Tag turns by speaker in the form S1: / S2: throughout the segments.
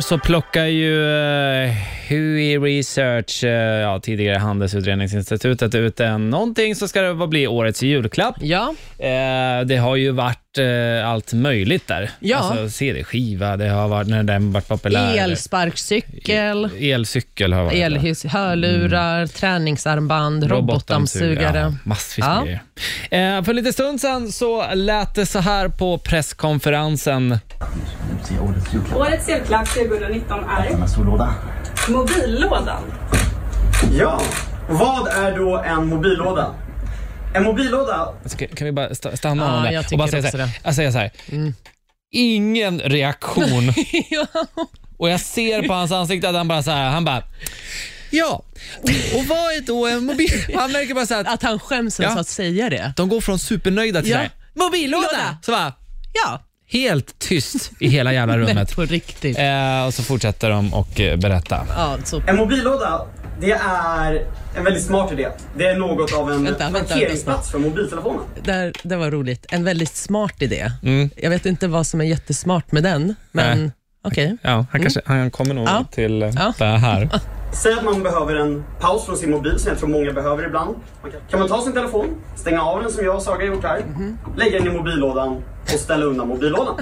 S1: så plockar ju eh, Hui Research, eh, ja, tidigare Handelsutredningsinstitutet, ut en någonting som ska det vara bli årets julklapp.
S2: Ja,
S1: Eh, det har ju varit eh, allt möjligt där.
S2: Ja.
S1: Alltså CD-skiva, det har varit när den varit populär.
S2: elsparkcykel,
S1: Elcykel har varit där.
S2: elhus, hörlurar,
S1: Mm.
S2: träningsarmband, robotdammsugare.
S1: Ja, massvis
S2: Ja.
S1: med grejer. Eh, för lite stund sedan så lät det så här på presskonferensen.
S3: Se årets julklapp.
S4: Årets julklapp 2019 är
S3: En stor låda.
S4: mobillådan.
S5: Ja, vad är då en mobillåda? En mobillåda,
S1: Alltså, kan, kan vi bara sta- stanna
S2: Ja,
S1: ah,
S2: jag
S1: där och bara
S2: tycker
S1: säga så här.
S2: också
S1: Jag säger så här. Ingen reaktion.
S2: Ja.
S1: och jag ser på hans ansikte att han bara så här, han bara Ja, och vad är då en mobil... Han märker bara så här att
S2: Att han skäms ens
S1: Ja.
S2: att säga det.
S1: de går från supernöjda till
S2: Ja.
S1: så här, mobillåda.
S2: Låda.
S1: Så bara,
S2: Ja,
S1: helt tyst i hela jävla
S2: men
S1: rummet.
S2: på riktigt.
S1: eh, och så fortsätter de och eh, berätta.
S2: Ja, så.
S5: en mobillåda, det är en väldigt smart idé. Det är något av en
S2: Vänta, vänta, vänta,
S5: parkeringsplats för mobiltelefonen.
S2: Där, det var roligt. En väldigt smart idé. Jag vet inte vad som är jättesmart med den, men
S1: Mm. Nej.
S2: okej.
S1: Ja, han, kanske, han kommer nog
S2: Ja.
S1: till eh,
S2: Ja.
S1: det här.
S5: Säg att man behöver en paus från sin mobil som jag tror många behöver ibland. Man kan, kan man ta sin telefon, stänga av den som jag och Saga gjort här,
S2: Mhm.
S5: lägga den i mobillådan och ställa undan mobillådan.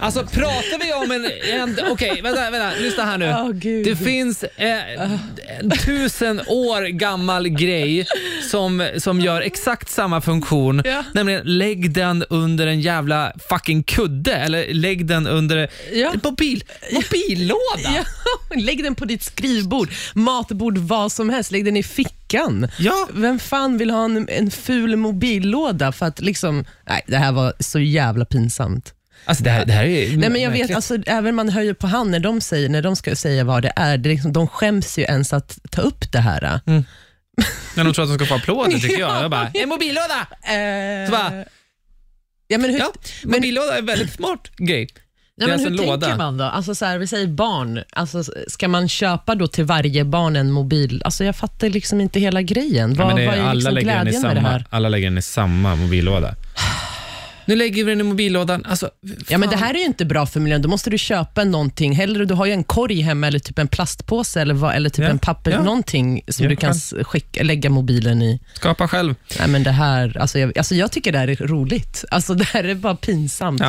S1: Alltså pratar vi om en... en Okej, vänta, vänta, lyssna här nu.
S2: Åh, Gud.
S1: det finns eh, en tusen år gammal grej som, som gör exakt samma funktion.
S2: Ja.
S1: Nämligen lägg den under en jävla fucking kudde eller lägg den under
S2: Ja.
S1: en mobil, mobillåda.
S2: Ja, lägg den på ditt skrivbord, matbord, vad som helst. Lägg den i fickan.
S1: Ja.
S2: Vem fan vill ha en, en ful mobillåda för att liksom... Nej, det här var så jävla pinsamt.
S1: Alltså det här, det här är
S2: Nej, men jag
S1: märkligt.
S2: vet, alltså, även man höjer på hand när de säger, när de ska säga vad det är. Det är liksom, de skäms ju ens att ta upp det här.
S1: När de tror att de ska få applåder Mm, tycker jag. Jag bara, en mobillåda!
S2: Eh,
S1: Så bara,
S2: ja, men hur,
S1: ja, mobillåda är en väldigt smart grej.
S2: Nej,
S1: Det är
S2: men
S1: alltså
S2: hur
S1: en
S2: tänker
S1: låda.
S2: man då? Alltså så här, vi säger barn, alltså, ska man köpa då till varje barn en mobil? Alltså, jag fattar liksom inte hela grejen.
S1: Ja,
S2: Vad,
S1: men det är-
S2: vad är liksom
S1: den i
S2: glädjen med det
S1: samma,
S2: här?
S1: alla lägger den i samma mobillåda. Nu lägger vi den i mobillådan. Alltså,
S2: Ja, men det
S1: fan.
S2: här är ju inte bra för miljön. Då måste du köpa någonting. Hellre, du har ju en korg hemma eller typ en plastpåse eller, vad, eller typ
S1: Ja,
S2: en papper,
S1: ja.
S2: någonting som
S1: Ja,
S2: du kan s- skicka, lägga mobilen i.
S1: Skapa själv.
S2: Nej, men det här, alltså jag, alltså jag tycker det här är roligt. Alltså det här är bara pinsamt.